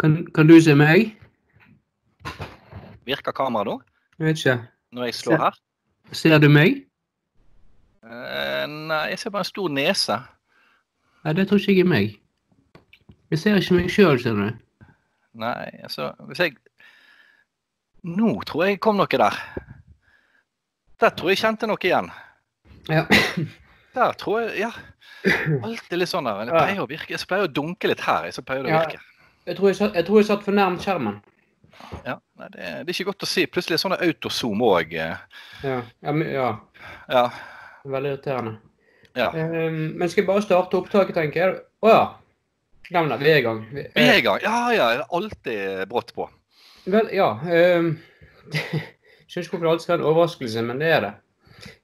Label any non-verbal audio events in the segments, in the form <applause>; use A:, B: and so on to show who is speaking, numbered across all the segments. A: Kan, kan du se meg?
B: Virker kameraet nå?
A: Jeg vet ikke.
B: Når jeg slår her?
A: Ser du meg?
B: Eh, nei, jeg ser bare en stor nese.
A: Nei, det tror ikke jeg er meg. Jeg ser ikke meg sjøl, ser du.
B: Nei, altså Hvis jeg Nå tror jeg kom noe der. Der tror jeg kjente noe igjen.
A: Ja.
B: <laughs> Der tror jeg Ja. Alt er litt sånn der. men Jeg
A: Ja.
B: pleier å virke Jeg pleier å dunke litt her, jeg, så pleier det å
A: Ja.
B: virke.
A: Jeg tror jeg satt, jeg tror jeg satt for nærmt skjermen.
B: Ja, nei, det, er- det er ikke godt å si. Plutselig er sånn autozoom òg.
A: Ja, ja, men- ja.
B: Ja.
A: Veldig irriterende.
B: Ja.
A: Ehm, men skal jeg bare starte opptaket, tenker jeg? Å ja. Glem det, vi er i gang. Vi,
B: Vi er i gang. Ja, ja. det er Alltid brått på.
A: Vel, ja. ehm, <laughs> Skjønner ikke hvorfor det alltid skal være en overraskelse, men det er det.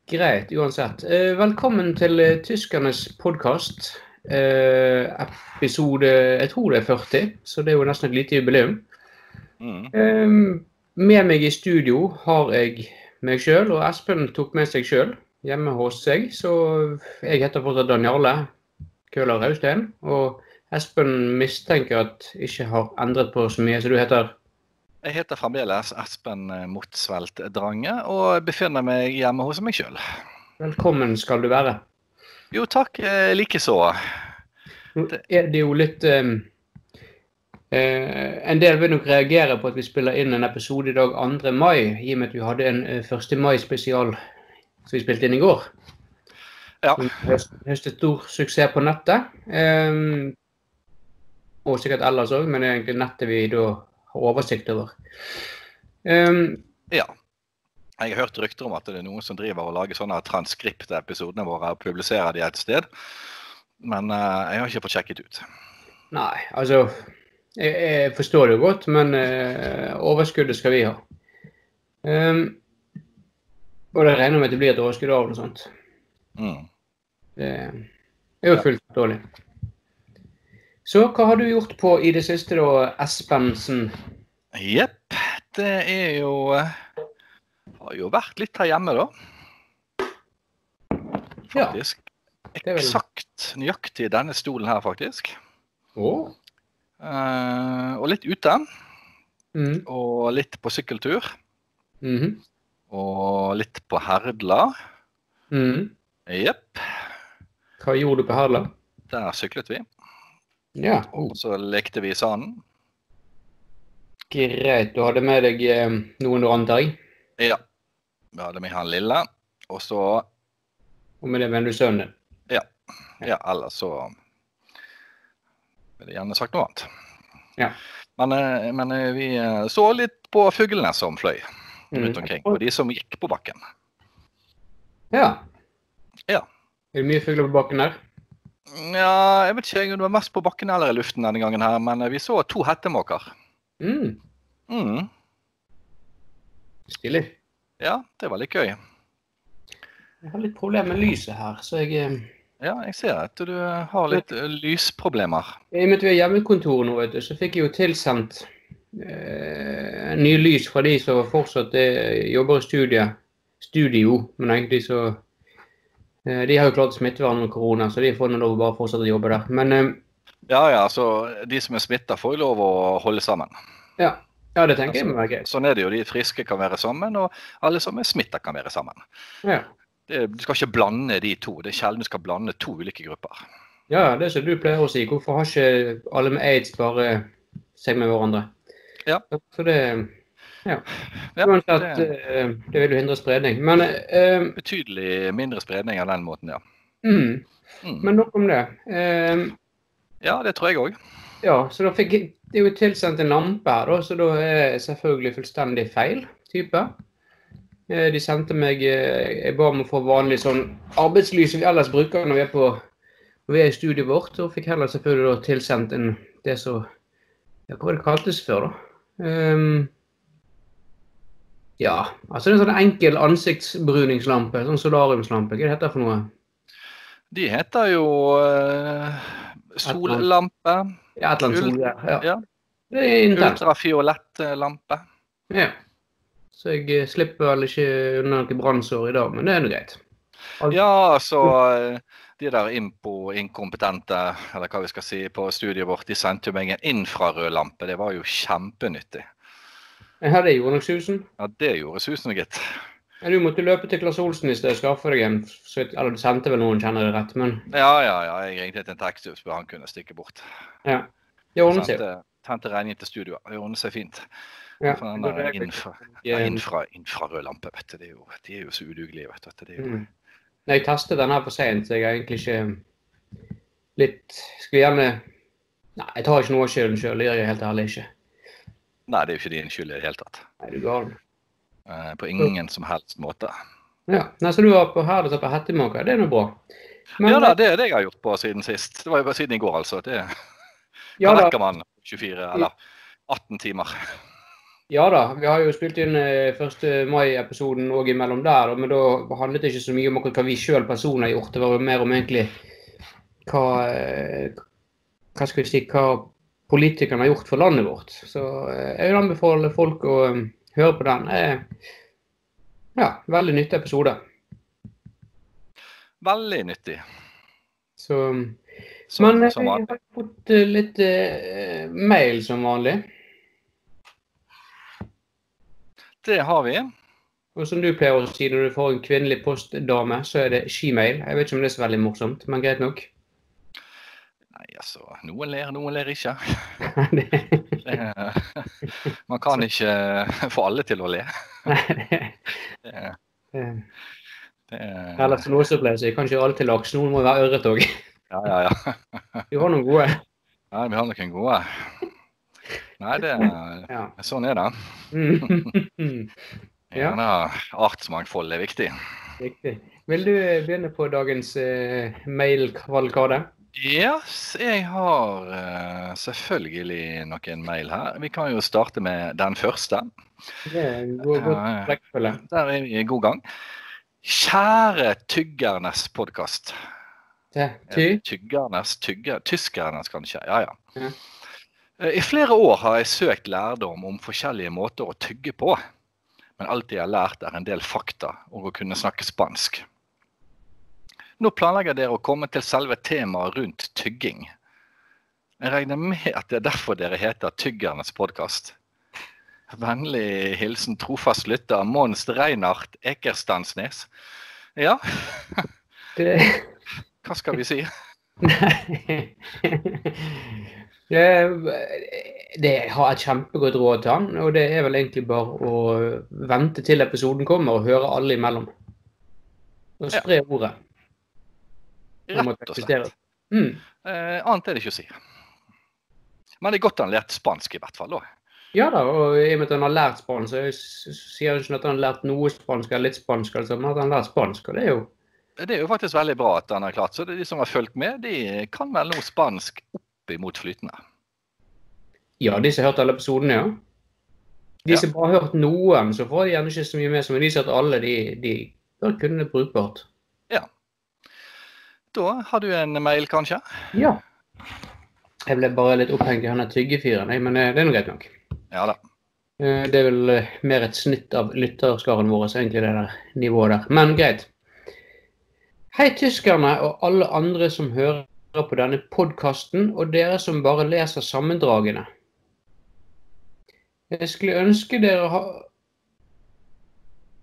A: Greit, uansett. Eh, velkommen til eh, Tyskernes podkast. episode Jeg tror det er 40, så det er jo nesten et lite jubileum.
B: Mm.
A: Ehm, med meg i studio har jeg meg sjøl, og Espen tok med seg sjøl hjemme hos seg. Så jeg heter fortsatt Daniale Køhler Raustein. Og Espen mistenker at jeg ikke har endret på så mye, så du heter
B: Jeg heter fremdeles Espen Motsvelt Drange og befinner meg hjemme hos meg sjøl.
A: Velkommen skal du være.
B: Jo takk, eh, likeså.
A: Nå er det jo litt ehm, eh, En del vil nok reagere på at vi spiller inn en episode i dag 2. mai, i og med at vi hadde en eh, 1. mai-spesial som vi spilte inn i går.
B: Ja.
A: Som høst- høstet stor suksess på nettet. ehm, og sikkert ellers òg, men det er egentlig nettet vi da har oversikt over. Ehm,
B: Ja. Jeg har hørt rykter om at det er noen som driver og lager sånne transkript av episodene våre og publiserer de et sted. Men eh, jeg har ikke fått sjekket ut.
A: nei, altså jeg, jeg forstår det jo godt, men eh, overskuddet skal vi ha. Ehm, og det regner jeg med at det blir et overskudd av noe sånt.
B: Mm.
A: Det er jo fullt dårlig. Så hva har du gjort på i det siste, da, Espensen?
B: Jepp. Det er jo eh, Har jo vært litt her hjemme, da.
A: Ja.
B: Faktisk.
A: er vel-
B: Eksakt nøyaktig denne stolen her, faktisk.
A: Oh.
B: Eh, og litt ute.
A: Mm
B: Og litt på sykkeltur.
A: mhm,
B: Og litt på herdla.
A: mhm.
B: Jepp.
A: Hva gjorde du på Herland?
B: Der syklet vi.
A: Ja,
B: Og så lekte vi i sanden.
A: greit. Du hadde med deg eh, noen du antar jeg?
B: Ja. Vi hadde med han lille. Og så
A: Og med det mener du sønnen din?
B: Ja, eller så ville jeg gjerne sagt noe annet.
A: Ja.
B: Men, eh, men eh, vi eh, så litt på fuglene som fløy
A: Mm.
B: rundt omkring. Og de som gikk på bakken.
A: Ja.
B: Ja.
A: Er det mye fugler på bakken her?
B: Ja, jeg vet ikke om det var mest på bakken eller i luften denne gangen her, men eh, vi så to hettemåker.
A: Mm,
B: Mm.
A: stilig.
B: Ja, det var litt gøy.
A: Jeg har litt problemer med lyset her, så jeg eh,
B: Ja, jeg ser at du har litt eh, lysproblemer.
A: I og med at vi har hjemmekontor nå, vet du, så fikk jeg jo tilsendt eh, nye lys fra de som fortsatt eh, jobber i studiet. Studio, men egentlig så eh, De har jo klart smittevern med korona, så de får nå lov å bare fortsette å jobbe der. Men eh,
B: Ja, ja, så de som er smitta, får jo lov å holde sammen.
A: ja. ja, det tenker jeg må være greit.
B: Sånn er det jo. De friske kan være sammen, og alle som er smitta, kan være sammen.
A: Ja.
B: Det, du skal ikke blande de to. Det er sjelden du skal blande to ulike grupper.
A: ja, det som du pleier å si. Hvorfor har ikke alle med aids bare seg med hverandre?
B: Ja.
A: Så det Ja.
B: Ja,
A: Uansett,
B: det
A: Sånn eh, det vil jo hindre spredning. Men eh, eh,
B: Betydelig mindre spredning av den måten, ja.
A: mm,
B: Mm.
A: Men nok om det. Eh,
B: Ja, det tror jeg òg.
A: Ja, så da fikk jeg det er jo tilsendt en lampe her, da, så da er jeg selvfølgelig fullstendig feil type. Eh, De sendte meg eh, Jeg ba om å få vanlig sånn arbeidslys som vi ellers bruker når vi er, på, når vi er i studiet vårt, og fikk heller selvfølgelig da tilsendt en det som ja, Hva var det kaltes før, da? Ehm, ja, altså det er en sånn enkel ansiktsbruningslampe. Sånn solariumslampe. Hva er det heter for noe?
B: De heter jo eh, sollampe,
A: Ja, et eller annet sånt. Ja.
B: ja.
A: Det er intenst.
B: ultrafiolettlampe.
A: Ja. Så jeg eh, slipper vel ikke unna noe brannsår i dag, men det er nå greit.
B: Ja, altså eh, de der impo, inkompetente, eller hva vi skal si, på studiet vårt, de sendte jo meg en infrarød lampe. Det var jo kjempenyttig.
A: Ja, det gjorde nok susen.
B: Ja, det gjorde susen, gitt.
A: Ja, Du måtte løpe til Klasse Olsen i sted og skaffe deg en. så- Eller du sendte vel noen, kjenner det rett, men
B: Ja, ja, ja. Jeg ringte til en taxi og spurte han kunne stikke bort.
A: ja. Det ordnet seg.
B: Sendte- Sendte regningen til studioet. Det ordnet seg fint.
A: Ja.
B: For den der infra, ja,
A: Jeg-
B: infra, infrarød lampe, vet du. Det er jo, de er jo så udugelige, vet du. Det er jo,
A: Mm. Nei, jeg testet den her for sent, så jeg har egentlig ikke litt Skulle gjerne Nei, jeg tar ikke noe av skylden sjøl, det gjør jeg helt ærlig ikke.
B: Nei, det er jo ikke din skyld i det hele tatt.
A: Nei, du er gal.
B: Eh, På
A: Mm.
B: ingen som helst måte.
A: Ja. Nei, så du var på her og så på Hettemaker, det er nå bra. Men,
B: Ja da, det er det jeg har gjort på siden sist. Det var jo bare siden i går, altså. Det
A: ja,
B: da
A: da,
B: rekker man 24 eller 18 timer.
A: ja da, vi har jo spilt inn eh, 1. mai-episoden og imellom der, og- men da handlet det ikke så mye om akkurat hva vi sjøl personer har gjort, det var jo mer om egentlig hva eh, Hva skal vi si Hva politikerne har gjort for landet vårt. Så eh, jeg vil anbefale folk å eh, høre på den. Eh, Ja, veldig nyttig episode.
B: Veldig nyttig.
A: Så,
B: Som,
A: men eh,
B: som
A: jeg
B: vanlig.
A: har fått eh, litt eh, mail som vanlig.
B: Det har vi.
A: Og som du pleier å si når du får en kvinnelig postdame, så er det shemail. Jeg vet ikke om det er så veldig morsomt, men greit nok. <laughs>
B: Nei, altså. Noen ler, noen ler ikke.
A: Det-
B: Det, <laughs> man kan ikke få alle til å le.
A: Nei,
B: Det,
A: det-
B: det,
A: Eller Eh, som Åse pleier å si, kan ikke alle til laks. Noen må være ørret òg.
B: ja, ja, ja.
A: Du har noen gode.
B: Nei, vi har noen gode. Nei, det,
A: Ja.
B: sånn er det.
A: Mm. <laughs> Ja.
B: Gjerne artsmangfold er viktig.
A: Riktig. Vil du begynne på dagens eh, mailkavalkade?
B: Ja, s- jeg har eh, selvfølgelig noen mail her. Vi kan jo starte med den første.
A: Det er en god, god
B: Ja, ja.
A: rekkefølge.
B: Der er vi i god gang. Kjære Tyggernes podkast.
A: Te, ty.
B: Tyggernes, tygger, Tyskernes kanskje. Ja, ja.
A: Ja.
B: Eh, I flere år har jeg søkt lærdom om forskjellige måter å tygge på. Men alt jeg har lært, er en del fakta og å kunne snakke spansk. Nå planlegger dere å komme til selve temaet rundt tygging. Jeg regner med at det er derfor dere heter Tyggernes podkast. Vennlig hilsen trofast lytter Mons Reinhardt Ekerstandsnes. Ja,
A: Det,
B: hva skal
A: <laughs>
B: vi si?
A: nei. Det, <laughs> det har jeg kjempegodt råd til han, og det er vel egentlig bare å vente til episoden kommer og høre alle imellom. Og
B: Ja.
A: spre ordet. Det måtte
B: Rett og slett.
A: eksistere. Mm.
B: Eh, annet er det ikke å si. Men det er godt han lærte spansk, i hvert fall. da.
A: Ja da, og i og med at han har lært spansk, så s- s- sier han ikke at han har lært noe spansk eller litt spansk, altså, men at han har lært spansk, og det er jo
B: Det er jo faktisk veldig bra at han har klart så det. er De som har fulgt med, de kan vel nå spansk oppimot flytende.
A: Ja, de som har hørt alle episodene, ja. De
B: Ja.
A: som bare har hørt noen, så får de gjerne ikke så mye med seg, men de som har hørt alle, de, de bør kunne det brukbart.
B: Da har du en mail, kanskje?
A: Ja. Jeg ble bare litt opphengt i han der tyggefyren, jeg, men eh, det er nå greit nok.
B: Ja da.
A: Eh, Det er vel eh, mer et snitt av lytterskaren vår, så egentlig det der nivået der. Men greit. Hei tyskerne og alle andre som hører på denne podkasten, og dere som bare leser sammendragene. Jeg skulle ønske dere ha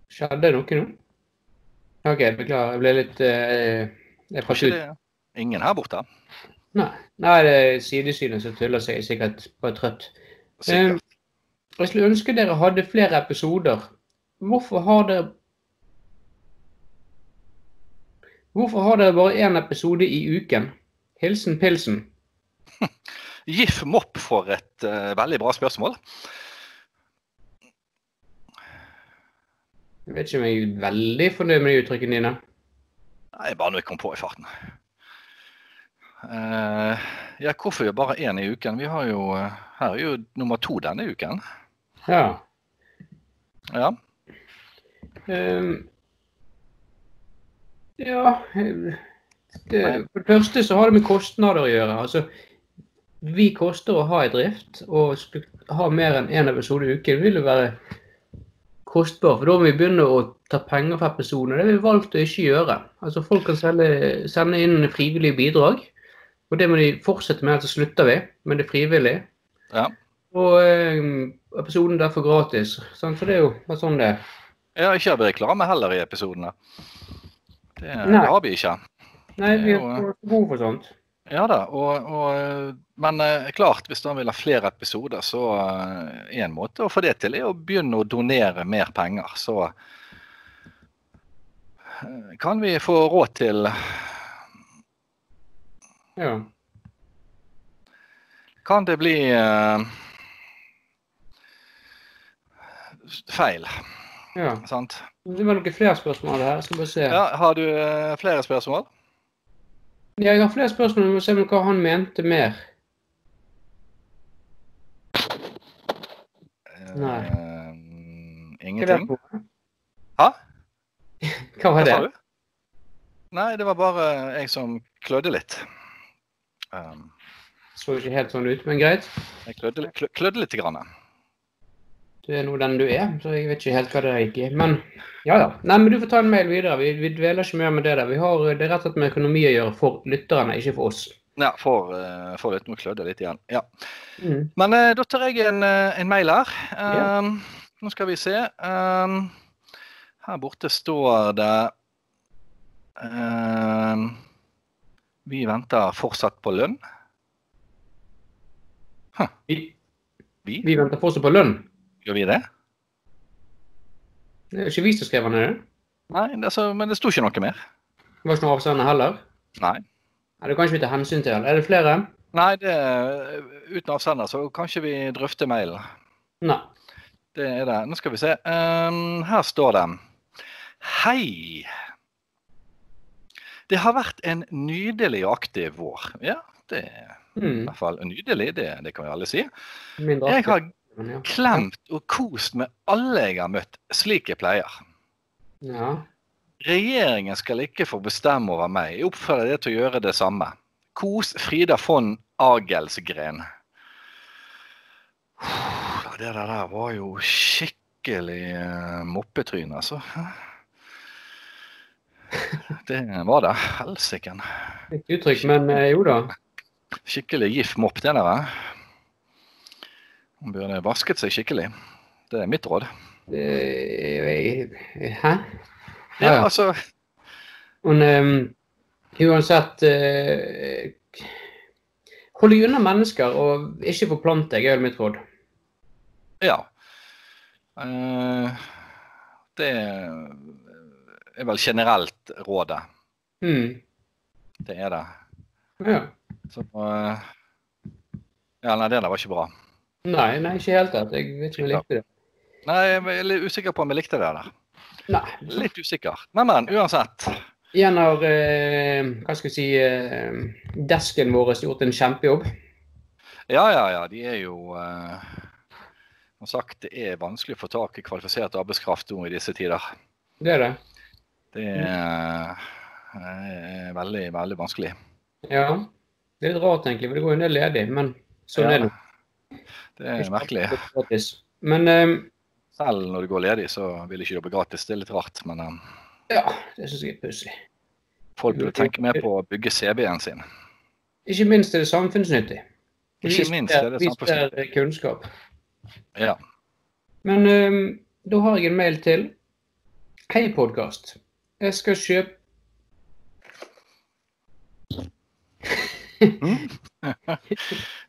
A: Skjedde det noe nå? OK, beklager. Jeg ble litt eh, Jeg
B: Var
A: falt ut.
B: ikke det ingen her borte?
A: Nei, Nei det er sidesynet som tuller seg sikkert bare trøtt.
B: Sikkert.
A: Jeg skulle ønske dere hadde flere episoder. Hvorfor har dere Hvorfor har dere bare én episode i uken? Hilsen Pilsen.
B: Gif Mopp for et eh, veldig bra spørsmål.
A: Jeg vet ikke om jeg er veldig fornøyd med de uttrykkene dine.
B: Nei, bare noe jeg kom på i farten. Eh, ja, hvorfor jo bare én i uken? Vi har jo eh, Her er jo nummer to denne uken.
A: Ja.
B: Ja.
A: ehm, ja eh, det, For det første så har det med kostnader å gjøre. Altså, vi koster å ha i drift, og sp- ha mer enn én episode i uken vil jo være kostbar. For da må vi begynne å ta penger fra personer. Det har vi valgt å ikke gjøre. Altså Folk kan selge, sende inn frivillige bidrag. Og det må de fortsette med, så slutter vi. Men det er frivillig.
B: Ja.
A: Og eh, episoden er derfor gratis. Sant? Så det er jo bare sånn det er.
B: Jeg har ikke hatt reklame heller i episodene. Det, det
A: Nei.
B: har vi ikke.
A: Nei, vi
B: Det er
A: har
B: jo-
A: ikke behov for sånt.
B: Ja da, og, og, men eh, klart, hvis han vil ha flere episoder, så eh, en måte å få det til er å begynne å donere mer penger. Så eh, kan vi få råd til
A: Ja.
B: Kan det bli eh, feil,
A: ja.
B: sant?
A: Det var noen flere spørsmål her. Jeg skal bare se.
B: Ja, har du eh, flere spørsmål?
A: Ja, jeg har flere spørsmål. Vi må se om hva han mente mer. Nei.
B: Eh,
A: Hva er det
B: ingenting?
A: for noe?
B: Hæ?
A: <laughs> Hva var det?
B: Hva sa du? Nei, det var bare jeg som klødde litt. Um,
A: Så ikke helt sånn ut, men greit.
B: Jeg klødde, li- klø- klødde litt. Grann.
A: Du er nå den du er, så jeg vet ikke helt hva det gikk i. Men ja, ja. Nei, men du får ta en mail videre. Vi, vi dveler ikke mer med det der. Vi har, eh, det er rett og slett med økonomi å gjøre for lytterne, ikke for oss.
B: Ja, får, eh, får litt, må klødde litt igjen. Ja.
A: Mm.
B: Men eh, da tar jeg en, eh, en mail her.
A: Ja.
B: Um, Nå skal vi se. Um, her borte står det um, Vi venter fortsatt på lønn.
A: Vi,
B: Vi?
A: vi venter fortsatt på lønn.
B: Gjør vi det?
A: Det er ikke vi som skrev den, er det?
B: Nei, det, er så- men det sto ikke noe mer.
A: Det var ikke noen avsender heller.
B: Nei.
A: Nei, det kan ikke vi ta hensyn til. Er det flere?
B: Nei, det, uten avsender så kan ikke vi drøfte mailen.
A: Nei.
B: Det er det. Nå skal vi se. Ehm, her står det. Hei. Det har vært en nydelig og aktiv vår. Ja, det er i
A: Mm.
B: hvert fall nydelig. Det, det kan vi alle si.
A: Mindre
B: Jeg har
A: aktivt, men ja.
B: klemt og kost med alle jeg har møtt, slik jeg pleier.
A: ja.
B: Regjeringen skal ikke få bestemme over meg. Jeg oppfører det til å gjøre det samme. Kos Frida von Agelsgren. Det der der var jo skikkelig eh, moppetryn, altså. Det var det. Helsike.
A: Litt uttrykk, men eh, jo da.
B: Skikkelig giff mopp, det der. eh. Hun burde vasket seg skikkelig. Det er mitt råd.
A: Eh, jeg- Hæ? Ja, ja.
B: Ja, altså,
A: Men ehm, uansett eh, Hold deg unna mennesker og ikke forplant deg, er vel mitt råd.
B: Ja. Eh, det er vel generelt rådet.
A: Mm.
B: Det er det.
A: Ja.
B: Så eh, Ja, nei, det der var ikke bra.
A: Nei, nei, ikke helt rett. Jeg vet ikke om jeg likte det.
B: Nei, jeg er litt usikker på om jeg likte det der.
A: Nei.
B: Litt usikker. Men, men, uansett.
A: Igjen har eh, hva skal jeg si, eh, desken vår gjort en kjempejobb.
B: Ja, ja, ja. De er jo eh, Som sagt, det er vanskelig å få tak i kvalifisert arbeidskraft nå i disse tider.
A: Det er det.
B: Det er, er veldig, veldig vanskelig.
A: Ja. Det er litt rart, egentlig, for det går jo en del ledig. Men sånn
B: Ja,
A: er det.
B: Det er Eh, merkelig.
A: Gratis. Men ehm,
B: Selv når du går ledig, så vil du ikke jobbe gratis. Det er litt rart, men eh,
A: ja, det syns jeg er pussig.
B: Folk burde tenke mer på å bygge CV-en sin.
A: Ikke minst er det samfunnsnyttig.
B: Ikke minst er det
A: Vi
B: samfunnsnyttig.
A: sprer kunnskap.
B: Ja.
A: Men ehm, da har jeg en mail til. Hei, podkast. Jeg skal
B: <laughs>
A: kjøpe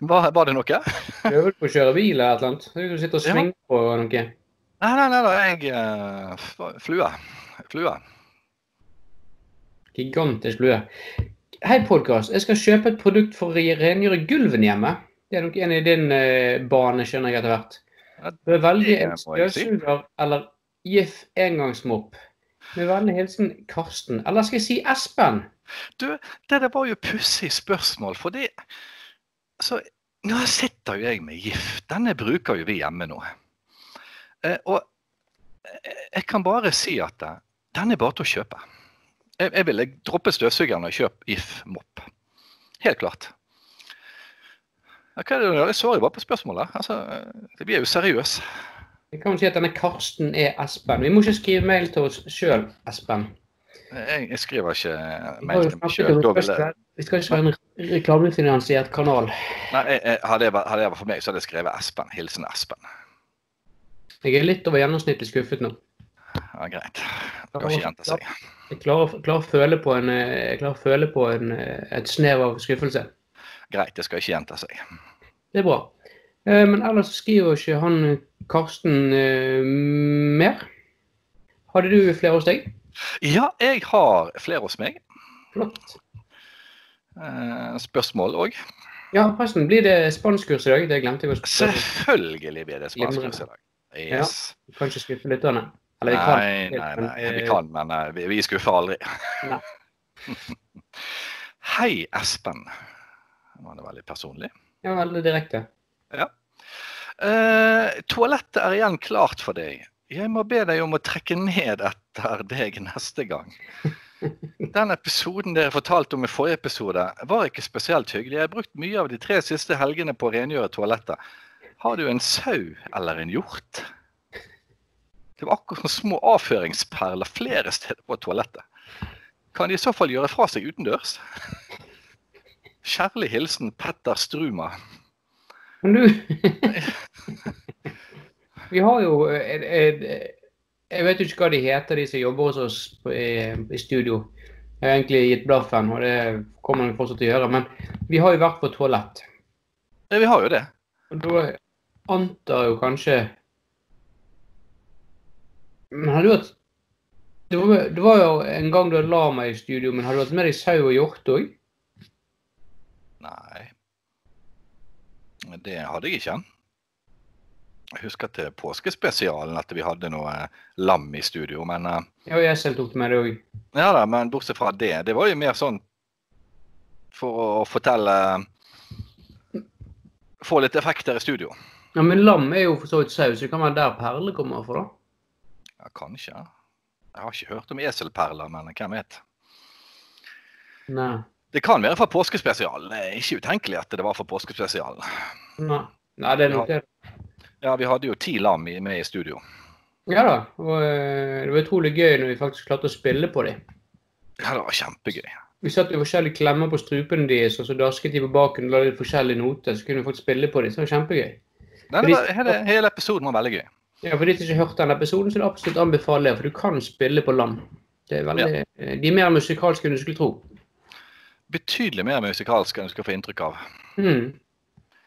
B: Var, var det noe?
A: øvel på å kjøre bil eller et eller annet. Du sitter og
B: Ja.
A: svinger på noe.
B: Nei, nei, nei, nei jeg eh, f- Flue. Flue.
A: Gigantisk lue. Hei, podkast. Jeg skal kjøpe et produkt for å rengjøre gulven hjemme. Det er nok en i din eh, bane, skjønner jeg etter hvert.
B: Ja,
A: Bør velge en
B: det må jeg si.
A: støvsuger eller GIF engangsmopp. Med vennlig hilsen Karsten. Eller skal jeg si Espen?
B: Det der var jo pussig spørsmål, for det Så nå sitter jo jeg med GIF. Denne bruker jo vi hjemme nå. Eh, og eh, jeg kan bare si at eh, den er bare til å kjøpe. Jeg, jeg ville droppe støvsugeren og kjøpe GIF-mopp. Helt klart. Ja, hva er det du gjør? Jeg svarer jo bare på spørsmålet. Altså, eh, vi er jo seriøse.
A: Jeg kan jo si at denne Karsten er Espen. Vi må ikke skrive mail til oss sjøl, Espen.
B: Jeg, jeg skriver ikke eh,
A: Vi har
B: mail
A: jo
B: til meg
A: snakket
B: sjøl.
A: om det først her. Vi skal ikke ha en re- reklamefinansiert kanal.
B: Hadde jeg vært hadde jeg vært for meg, så hadde jeg skrevet Espen. Hilsen Espen.
A: Jeg er litt over gjennomsnittet skuffet nå.
B: Ja, greit. Det kan ikke gjenta seg.
A: Jeg klarer, klarer å føle på, en, eh, jeg klarer å føle på en, eh, et snev av skuffelse.
B: Greit, det skal ikke gjenta seg.
A: Det er bra. Eh, Men ellers skriver ikke han eh, Karsten eh, mer. Hadde du flere hos deg?
B: Ja, jeg har flere hos meg.
A: Flott.
B: Eh, Spørsmål òg.
A: Ja, forresten, blir det spanskkurs i dag? Det glemte jeg å spørre.
B: Selvfølgelig blir det spanskurs i dag. Yes.
A: Vi kan ikke skuffe lytterne. Eller vi kan.
B: Nei, nei,
A: men,
B: nei, vi
A: eh,
B: kan, men eh, vi, vi skuffer aldri.
A: Nei.
B: <laughs> Hei, Espen. Det var det veldig personlig.
A: Ja, veldig direkte.
B: Eh, toalettet er igjen klart for deg. Jeg må be deg om å trekke ned etter deg neste gang. Den episoden dere fortalte om i forrige episode, var ikke spesielt hyggelig. Jeg har brukt mye av de tre siste helgene på å rengjøre toalettet. Har du en sau eller en hjort? Det var akkurat som små avføringsperler flere steder på toalettet. Kan de i så fall gjøre fra seg utendørs? Kjærlig hilsen Petter Struma.
A: Men du <laughs> Vi har jo eh, eh, Jeg vet jo ikke hva de heter, de som jobber hos oss på, i, i studio. Jeg har egentlig gitt blaffen, og det kommer vi fortsatt til å gjøre. Men vi har jo vært på toalett.
B: Ja, vi har jo det.
A: Og da antar jo kanskje Men har du hatt det var, det var jo en gang du hadde lama i studio, men har du hatt med deg sau og hjort òg?
B: Nei. Det hadde jeg ikke. Jeg husker til påskespesialen at vi hadde noe eh, lam i studio. Men, eh,
A: Ja, og jeg selv tok med det òg.
B: ja da, men bortsett fra det, det var jo mer sånn for å fortelle eh, Få litt effekter i studio.
A: Ja, men lam er jo for så vidt sau, så det kan være der perle kommer fra, da.
B: Ja, kanskje. Jeg har ikke hørt om eselperler, men hvem vet.
A: Nei.
B: Det kan være fra påskespesialen. Det er ikke utenkelig at det var fra påskespesialen.
A: Nei. Nei, det er nok det.
B: Ja, vi hadde jo ti lam i- med i studio.
A: Ja da. Og eh, det var utrolig gøy når vi faktisk klarte å spille på dem.
B: Ja, det var kjempegøy.
A: Vi satte jo forskjellige klemmer på strupene deres, og så dasket de på baken og la de forskjellige noter. Så kunne vi faktisk spille på dem. Så det var kjempegøy.
B: Nei, det var, hele, hele episoden var veldig gøy.
A: Ja, For de som ikke hørte den episoden, så er det absolutt anbefaler, for du kan spille på lam. Det er veldig, eh, De er mer musikalske enn du skulle tro.
B: betydelig mer musikalsk enn du skal få inntrykk av.
A: Hmm.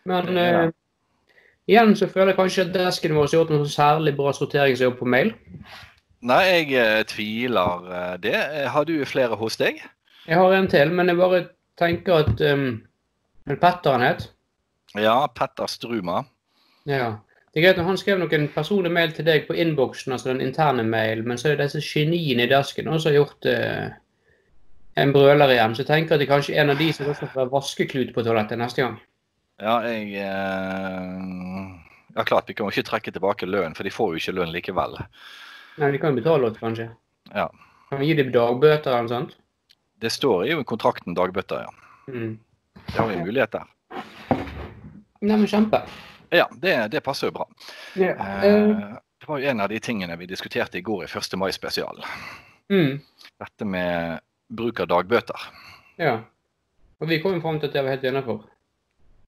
A: Men
B: Det er det.
A: eh, igjen så føler jeg kanskje at desken vår har gjort noen særlig bra sorteringsjobb på mail.
B: Nei, jeg eh, tviler eh, det. Eh, Har du flere hos deg?
A: Jeg har en til, men jeg bare tenker at um, Petter han het.
B: Ja, Petter Struma.
A: Ja. Det er greit når han skrev nok en personlig mail til deg på innboksen, altså den interne mail, men så er det disse geniene i desken også som har gjort eh, en brøler igjen. Så jeg tenker at det er kanskje en av de som også får vaskeklut på toalettet neste gang.
B: Ja, jeg eh, Ja, klart, vi kan jo ikke trekke tilbake lønn, for de får jo ikke lønn likevel.
A: Nei, de kan jo betale oss, kanskje.
B: Ja.
A: Kan vi gi dem dagbøter eller noe sånt?
B: Det står jo i kontrakten dagbøtter, ja.
A: Mm.
B: Det har vi mulighet der.
A: Nei, men kjempe.
B: Ja, det, det passer jo bra.
A: Ja. eh,
B: Eh, Det var jo en av de tingene vi diskuterte i går i 1. mai-spesialen.
A: mm,
B: Dette med bruk av dagbøter.
A: ja. Og vi kom jo fram til at det var helt innafor.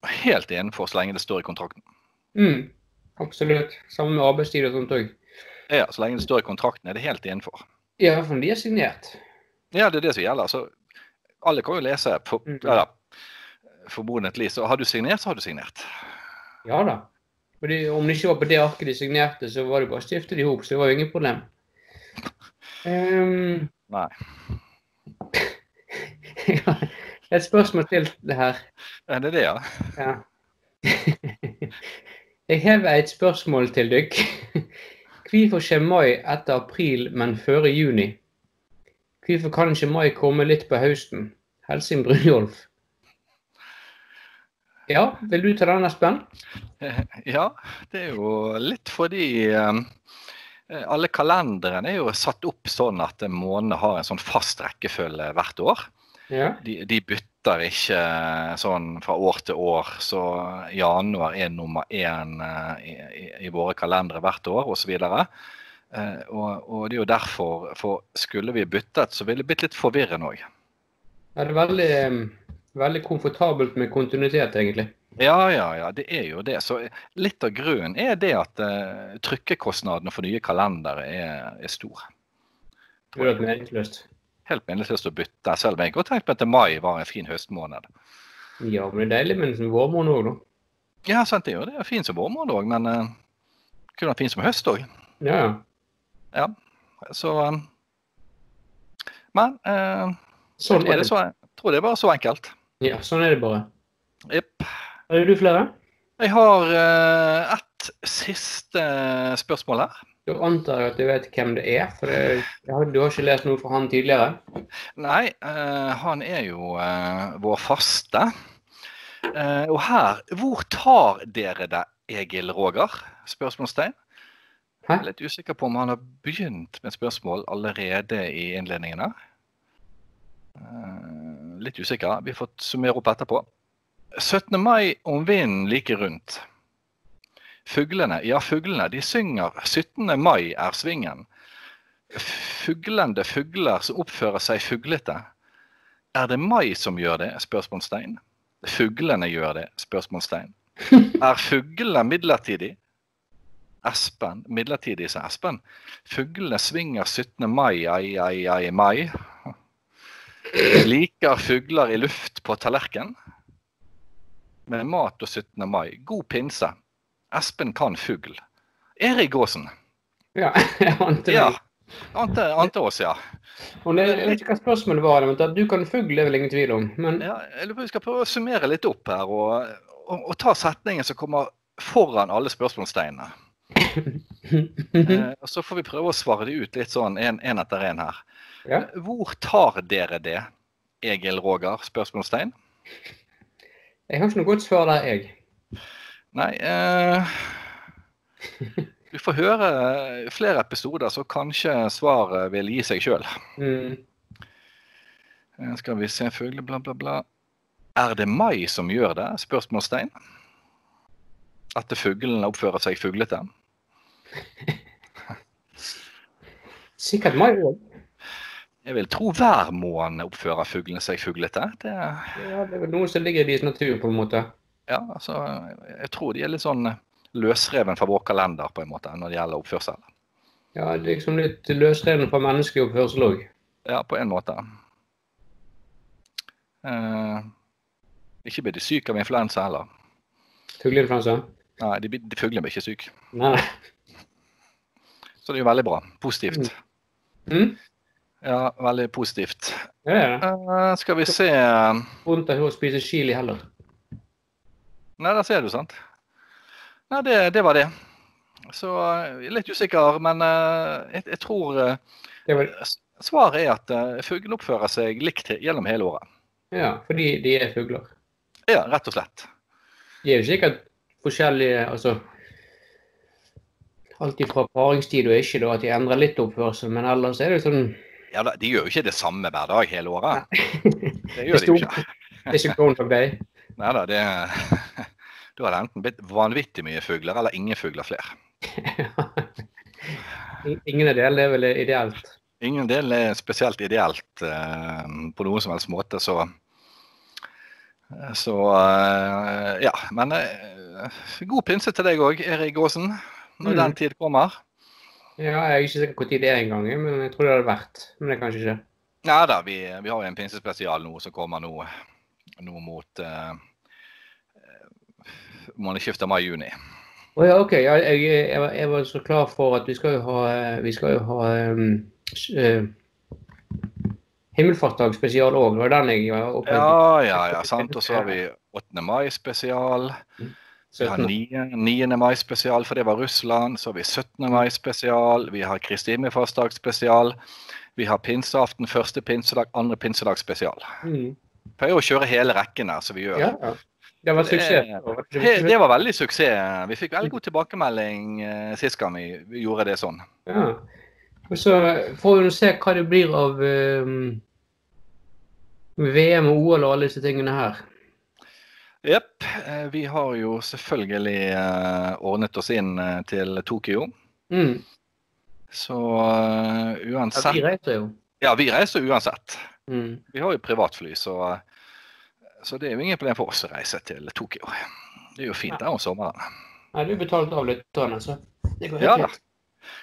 B: Helt innenfor så lenge det står i kontrakten.
A: Mm. Absolutt. Sammen med arbeidstid og sånt òg.
B: Ja, så lenge det står i kontrakten er det helt innenfor.
A: I hvert fall de er signert.
B: Ja, det er det som gjelder. Så alle kan jo lese. For,
A: Mhm.
B: ja, da. Formodentlig. Så har du signert, så har du signert.
A: Ja da. Fordi om det ikke var på det arket de signerte, så var det bare å stifte det i hop, så det var jo ingen problem. Ehm, <laughs>
B: Nei.
A: Et spørsmål til det her.
B: Er det det, ja?
A: Ja. <laughs> Jeg har et spørsmål til dere. <laughs> Hvorfor skjer mai etter april, men før i juni? Hvorfor kan ikke mai komme litt på høsten? Helsing Brynjolf. Ja, vil du ta den, Espen?
B: Ja, det er jo litt fordi eh, alle kalenderne er jo satt opp sånn at månedene har en sånn fast rekkefølge hvert år.
A: Ja.
B: De, de bytter slutter ikke eh, sånn fra år til år. Så januar er nummer én eh, i, i, i våre kalendere hvert år, osv. Eh, og, og det er jo derfor, for skulle vi byttet, så ville det blitt litt forvirrende òg.
A: Ja, det er veldig, eh, veldig komfortabelt med kontinuitet, egentlig.
B: Ja, ja, ja, det er jo det. Så litt av grunnen er det at eh, trykkekostnadene for nye kalendere er, er stor.
A: Det er jo helt meningsløst.
B: Helt meningsløst å bytte, selv om jeg godt tenkte meg at mai var en fin høstmåned.
A: Ja, men det er deilig med en vårmåned òg, da.
B: Ja, sant det er jo det. Fin som vårmåned òg, men eh, kunne vært fin som høst òg.
A: Ja, ja.
B: Ja. Så eh, Men eh, jeg,
A: Sånn
B: tror
A: er
B: det
A: det.
B: så, jeg tror det var så enkelt.
A: Ja, sånn er det bare.
B: Jepp.
A: Har du flere?
B: Jeg har eh, ett siste eh, spørsmål her.
A: Da antar jeg at jeg vet hvem det er, for det, jeg har, du har ikke lest noe fra han tidligere? <laughs>
B: Nei, eh, han er jo eh, vår faste. Eh, og her Hvor tar dere det, Egil Roger? Spørsmålstegn.
A: Hæ?
B: Jeg er litt usikker på om han har begynt med spørsmål allerede i innledningen her. Eh, litt usikker. Vi får summere opp etterpå. 17. mai om vinden like rundt. Fuglene, ja fuglene, de synger 17. mai er svingen. Fuglende fugler som oppfører seg fuglete. Er det mai som gjør det? spørsmålstegn. Fuglene gjør det? spørsmålstegn. Er fuglene midlertidig? Espen midlertidig, sa Espen. Fuglene svinger 17. mai, ai, ai, ai, mai. Liker fugler i luft på tallerken? Med mat og 17. mai. God pinse. Espen kan fugl. Erik Aasen.
A: Ja, jeg ante det.
B: Ja. Ante, ante oss, ja.
A: Og det, jeg vet ikke hva spørsmålet var, men at du kan fugle er vel ingen tvil om. Men
B: Ja, jeg lurer på, om Vi skal prøve å summere litt opp her og, og, og ta setningen som kommer foran alle spørsmålsteinene.
A: <laughs> Mhm.
B: Eh, og Så får vi prøve å svare de ut litt sånn en, en etter en her. Eh,
A: Ja.
B: Hvor tar dere det, Egil Roger? spørsmålstegn?
A: jeg har ikke noe godt svar der, jeg.
B: Nei eh, Du får høre flere episoder, så kanskje svaret vil gi seg sjøl.
A: Mm.
B: Eh, Skal vi se fugler, bla, bla, bla. Er det mai som gjør det? Spørsmålstegn. At fuglene oppfører seg fuglete.
A: Sikkert meg òg.
B: Jeg vil tro hver måned oppfører fuglene seg fuglete. Det,
A: Ja, det er vel noe som ligger i deres natur, på en måte.
B: ja, altså, jeg tror de er litt sånn løsreven fra vår kalender på en måte, når det gjelder oppførsel.
A: Ja, det er liksom litt løsrevne fra menneskelig oppførsel òg.
B: Ja, på en måte. Eh, ikke blir de syke av influensa heller.
A: Fugleinfluensa?
B: Nei, de, blir- de fuglene blir ikke syke.
A: Nei, nei.
B: Så det er jo veldig bra. Positivt.
A: Mm?
B: Ja, veldig positivt.
A: Ja, det er det.
B: Eh, skal vi se
A: Vondt av å spise chili heller.
B: Nei, der ser du, sant. Nei, det, det var det. Så eh, litt usikker, men eh, jeg, jeg tror eh,
A: Det er vel,
B: s- svaret er at uh, fuglene oppfører seg likt he- gjennom hele året.
A: ja, fordi de er fugler.
B: Ja, rett og slett.
A: De er jo sikkert forskjellige altså, Alt fra paringstid og ikke, da, at de endrer litt oppførsel, men ellers er det jo sånn
B: Ja, da, De gjør jo ikke det samme hver dag hele året. <laughs> Det
A: Det
B: gjør de jo
A: sto-
B: ikke.
A: Det er ikke Groundhog Day.
B: Nei da, det <laughs> Da har det enten blitt vanvittig mye fugler eller ingen fugler flere.
A: Ingen av delene er vel ideelt.
B: Ingen del er spesielt ideelt eh, på noen som helst måte, så Så eh, ja. Men eh, god pinse til deg òg, Erik Aasen, når
A: Mm.
B: den tid kommer.
A: Ja, jeg er ikke sikker på når det er engang, jeg, men jeg tror det hadde vært. Men det er kanskje ikke.
B: Nei da, vi, vi har jo en pinsespesial nå som kommer nå, nå mot eh, uh, månedsskiftet mai-juni.
A: Å ja, OK. Ja, jeg, jeg, var- jeg var så klar for at vi skal jo ha eh, Vi skal jo ha um, s- eh, Himmelfartsdag spesial òg. Det var den jeg var oppe
B: Ja, ja, ja, sant. Og så har vi 8. mai-spesial. Vi har 9. 9. mai-spesial, for det var Russland. Så har vi 17. mai-spesial. Vi har Kristi himmelfartsdag-spesial. Vi har pinseaften, første pinsedag, andre pinsedag-spesial.
A: Mm.
B: Pleier å kjøre hele rekken her, som vi gjør.
A: Ja, ja. Det var suksess.
B: Det- He- Det var veldig suksess. Vi fikk veldig god tilbakemelding eh, sist gang vi vi gjorde det sånn.
A: Ja. Og så får vi nå se hva det blir av um, VM og OL og alle disse tingene her.
B: Jepp. eh, Vi har jo selvfølgelig eh, ordnet oss inn eh, til Tokyo.
A: Mm.
B: Så eh,
A: Ja,
B: uansett
A: vi reiser jo.
B: Ja, vi reiser uansett.
A: Mm.
B: Vi har jo privatfly, så, eh, så det er jo ingen problem for oss å reise til Tokyo. Det er jo fint der om sommeren.
A: Nei, du er betalt av lytterne, så det går
B: Ja
A: helt
B: da.
A: greit.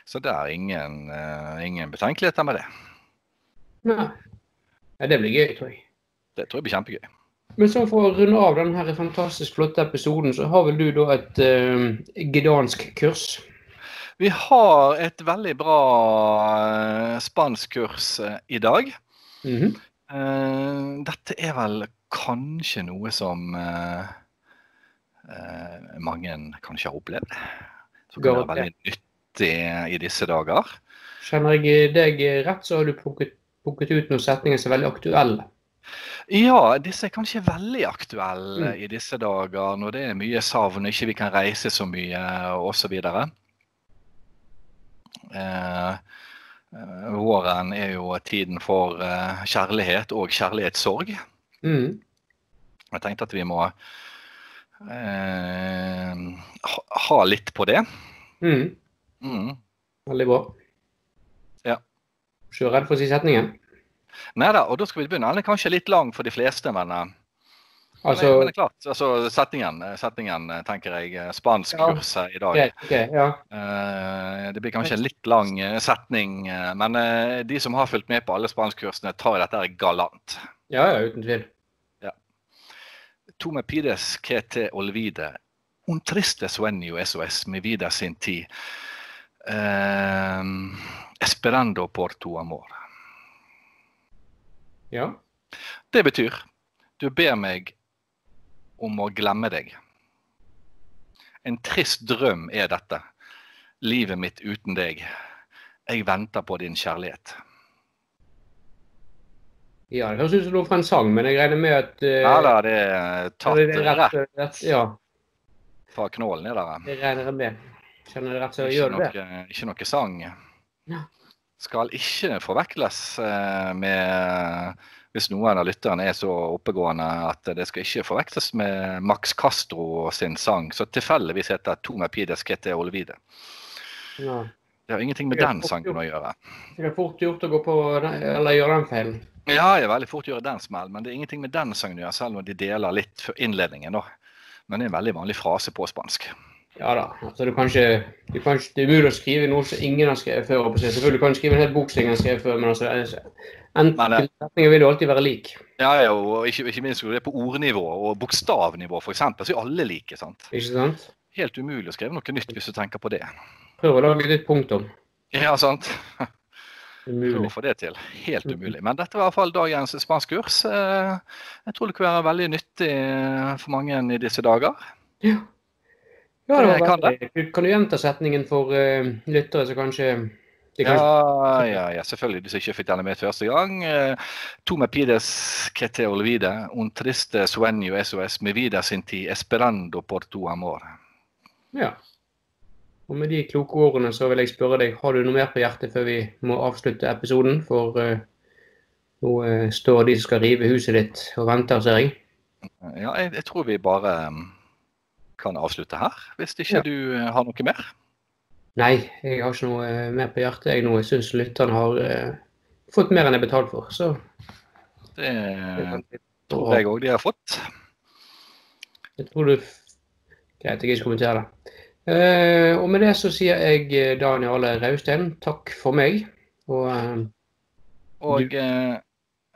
B: Så det er ingen, eh, ingen betenkeligheter med det.
A: Ja. ja, det blir gøy, tror jeg.
B: Det tror jeg blir kjempegøy.
A: Men så for å runde av denne her fantastisk flotte episoden, så har vel du da et eh, gedansk kurs?
B: Vi har et veldig bra eh, spanskkurs eh, i dag.
A: Mhm.
B: Eh, Dette er vel kanskje noe som eh, eh, mange kanskje har opplevd. Som kan være veldig nyttig i disse dager.
A: Kjenner jeg deg rett, så har du plukket, plukket ut noen setninger som er veldig aktuelle.
B: Ja, disse er kanskje veldig aktuelle i disse dager når det er mye savn og ikke vi kan reise så mye osv. Eh, eh, våren er jo tiden for eh, kjærlighet og kjærlighetssorg.
A: Mm.
B: Jeg tenkte at vi må eh, ha, ha litt på det.
A: Mm.
B: Mm.
A: Veldig bra.
B: Ja.
A: Så redd for å si setningen.
B: Nei da, og da skal vi begynne. Den er kanskje litt lang for de fleste, men, eh,
A: Altså,
B: men det er klart. Altså, setningen, eh, setningen, eh, tenker jeg, eh, spanskkurset i dag.
A: greit, ok, ja.
B: Eh, Det blir kanskje en litt lang eh, setning, eh, men eh, de som har fulgt med på alle spanskkursene, tar dette her galant.
A: ja, ja, uten tvil.
B: Tú me pides que te olvide. Un triste sueño eso es mi vida sin ti. Eh, esperando por tu amor.
A: Ja.
B: Det betyr du ber meg om å glemme deg. En trist drøm er dette. Livet mitt uten deg. Jeg venter på din kjærlighet.
A: ja, det høres ut som noe fra en sang, men jeg regner med at eh,
B: Ja da, det er tatt
A: det er
B: rett
A: rett, eh, rett, Ja,
B: fra knålen er det.
A: det regner jeg med. Kjenner det rett, så
B: Ikke
A: gjør det det.
B: noe, ikke noe sang.
A: Ja.
B: Skal ikke forvekles eh, med Hvis noen av lytterne er så oppegående at det skal ikke forveksles med Max Castro sin sang, som tilfeldigvis heter 'Tome pides que te olvide'.
A: Ja.
B: Det har ingenting med
A: Det er
B: den
A: fort
B: sangen
A: gjort.
B: å gjøre.
A: Så Det er fort gjort å gå på den, eller gjøre den feilen.
B: Ja, jeg er veldig fort å gjøre den smell, men det er ingenting med den sangen å gjøre, selv om de deler litt for innledningen, da. Men det er en veldig vanlig frase på spansk.
A: Ja da. Altså, du kan ikke, du kan ikke, det er umulig å skrive noe som ingen har skrevet før. holdt på å si. Selvfølgelig kan du skrive en hel bok som ingen har skrevet før, men altså,
B: Nei, det-
A: enkeltsetninger vil jo alltid være lik.
B: Ja, ja, og ikke, ikke minst når det er på ordnivå og bokstavnivå, f.eks., så er jo alle like. sant?
A: Ikke sant?
B: Helt umulig å skrive noe nytt hvis du tenker på det.
A: Prøv å lage et nytt punktum.
B: Ja, sant? Prøv
A: Umulig.
B: å få det til. Helt umulig. Men dette var i hvert fall dagens spanskkurs. Eh, Jeg tror det kan være veldig nyttig eh, for mange i disse dager.
A: Ja, det
B: Jeg
A: var
B: kan
A: veldig. Du- Kan du gjenta setningen for eh, lyttere som kanskje de
B: Ja,
A: kanskje
B: ja, ja, selvfølgelig. De som ikke fikk denne med første gang. Eh, Tu me pides que te olvide, un triste sueño eso es mi vida sin ti, esperando por tu amor.
A: ja. Og med de kloke ordene så vil jeg spørre deg, har du noe mer på hjertet før vi må avslutte episoden? For eh, nå eh, står de som skal rive huset ditt og venter, ser jeg.
B: Ja, jeg, jeg tror vi bare mm, kan avslutte her, hvis ikke
A: Ja.
B: du eh, har noe mer.
A: Nei, jeg har ikke noe eh, mer på hjertet jeg nå. Jeg syns lytteren har eh, fått mer enn jeg betalt for, så
B: Det tror
A: jeg
B: Eh, jeg òg de har fått.
A: tror du Greit, jeg kan ikke kommentere det. Eh, og med det så sier jeg eh, Daniel Ale Raustein takk for meg. Og eh,
B: Og eh,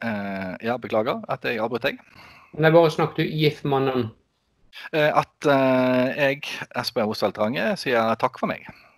B: eh, ja, beklager at jeg avbrøt deg.
A: Nei, bare snakk du, GIF-mannen.
B: Eh, at eh, jeg, Espen Rosvald Range, sier takk for meg.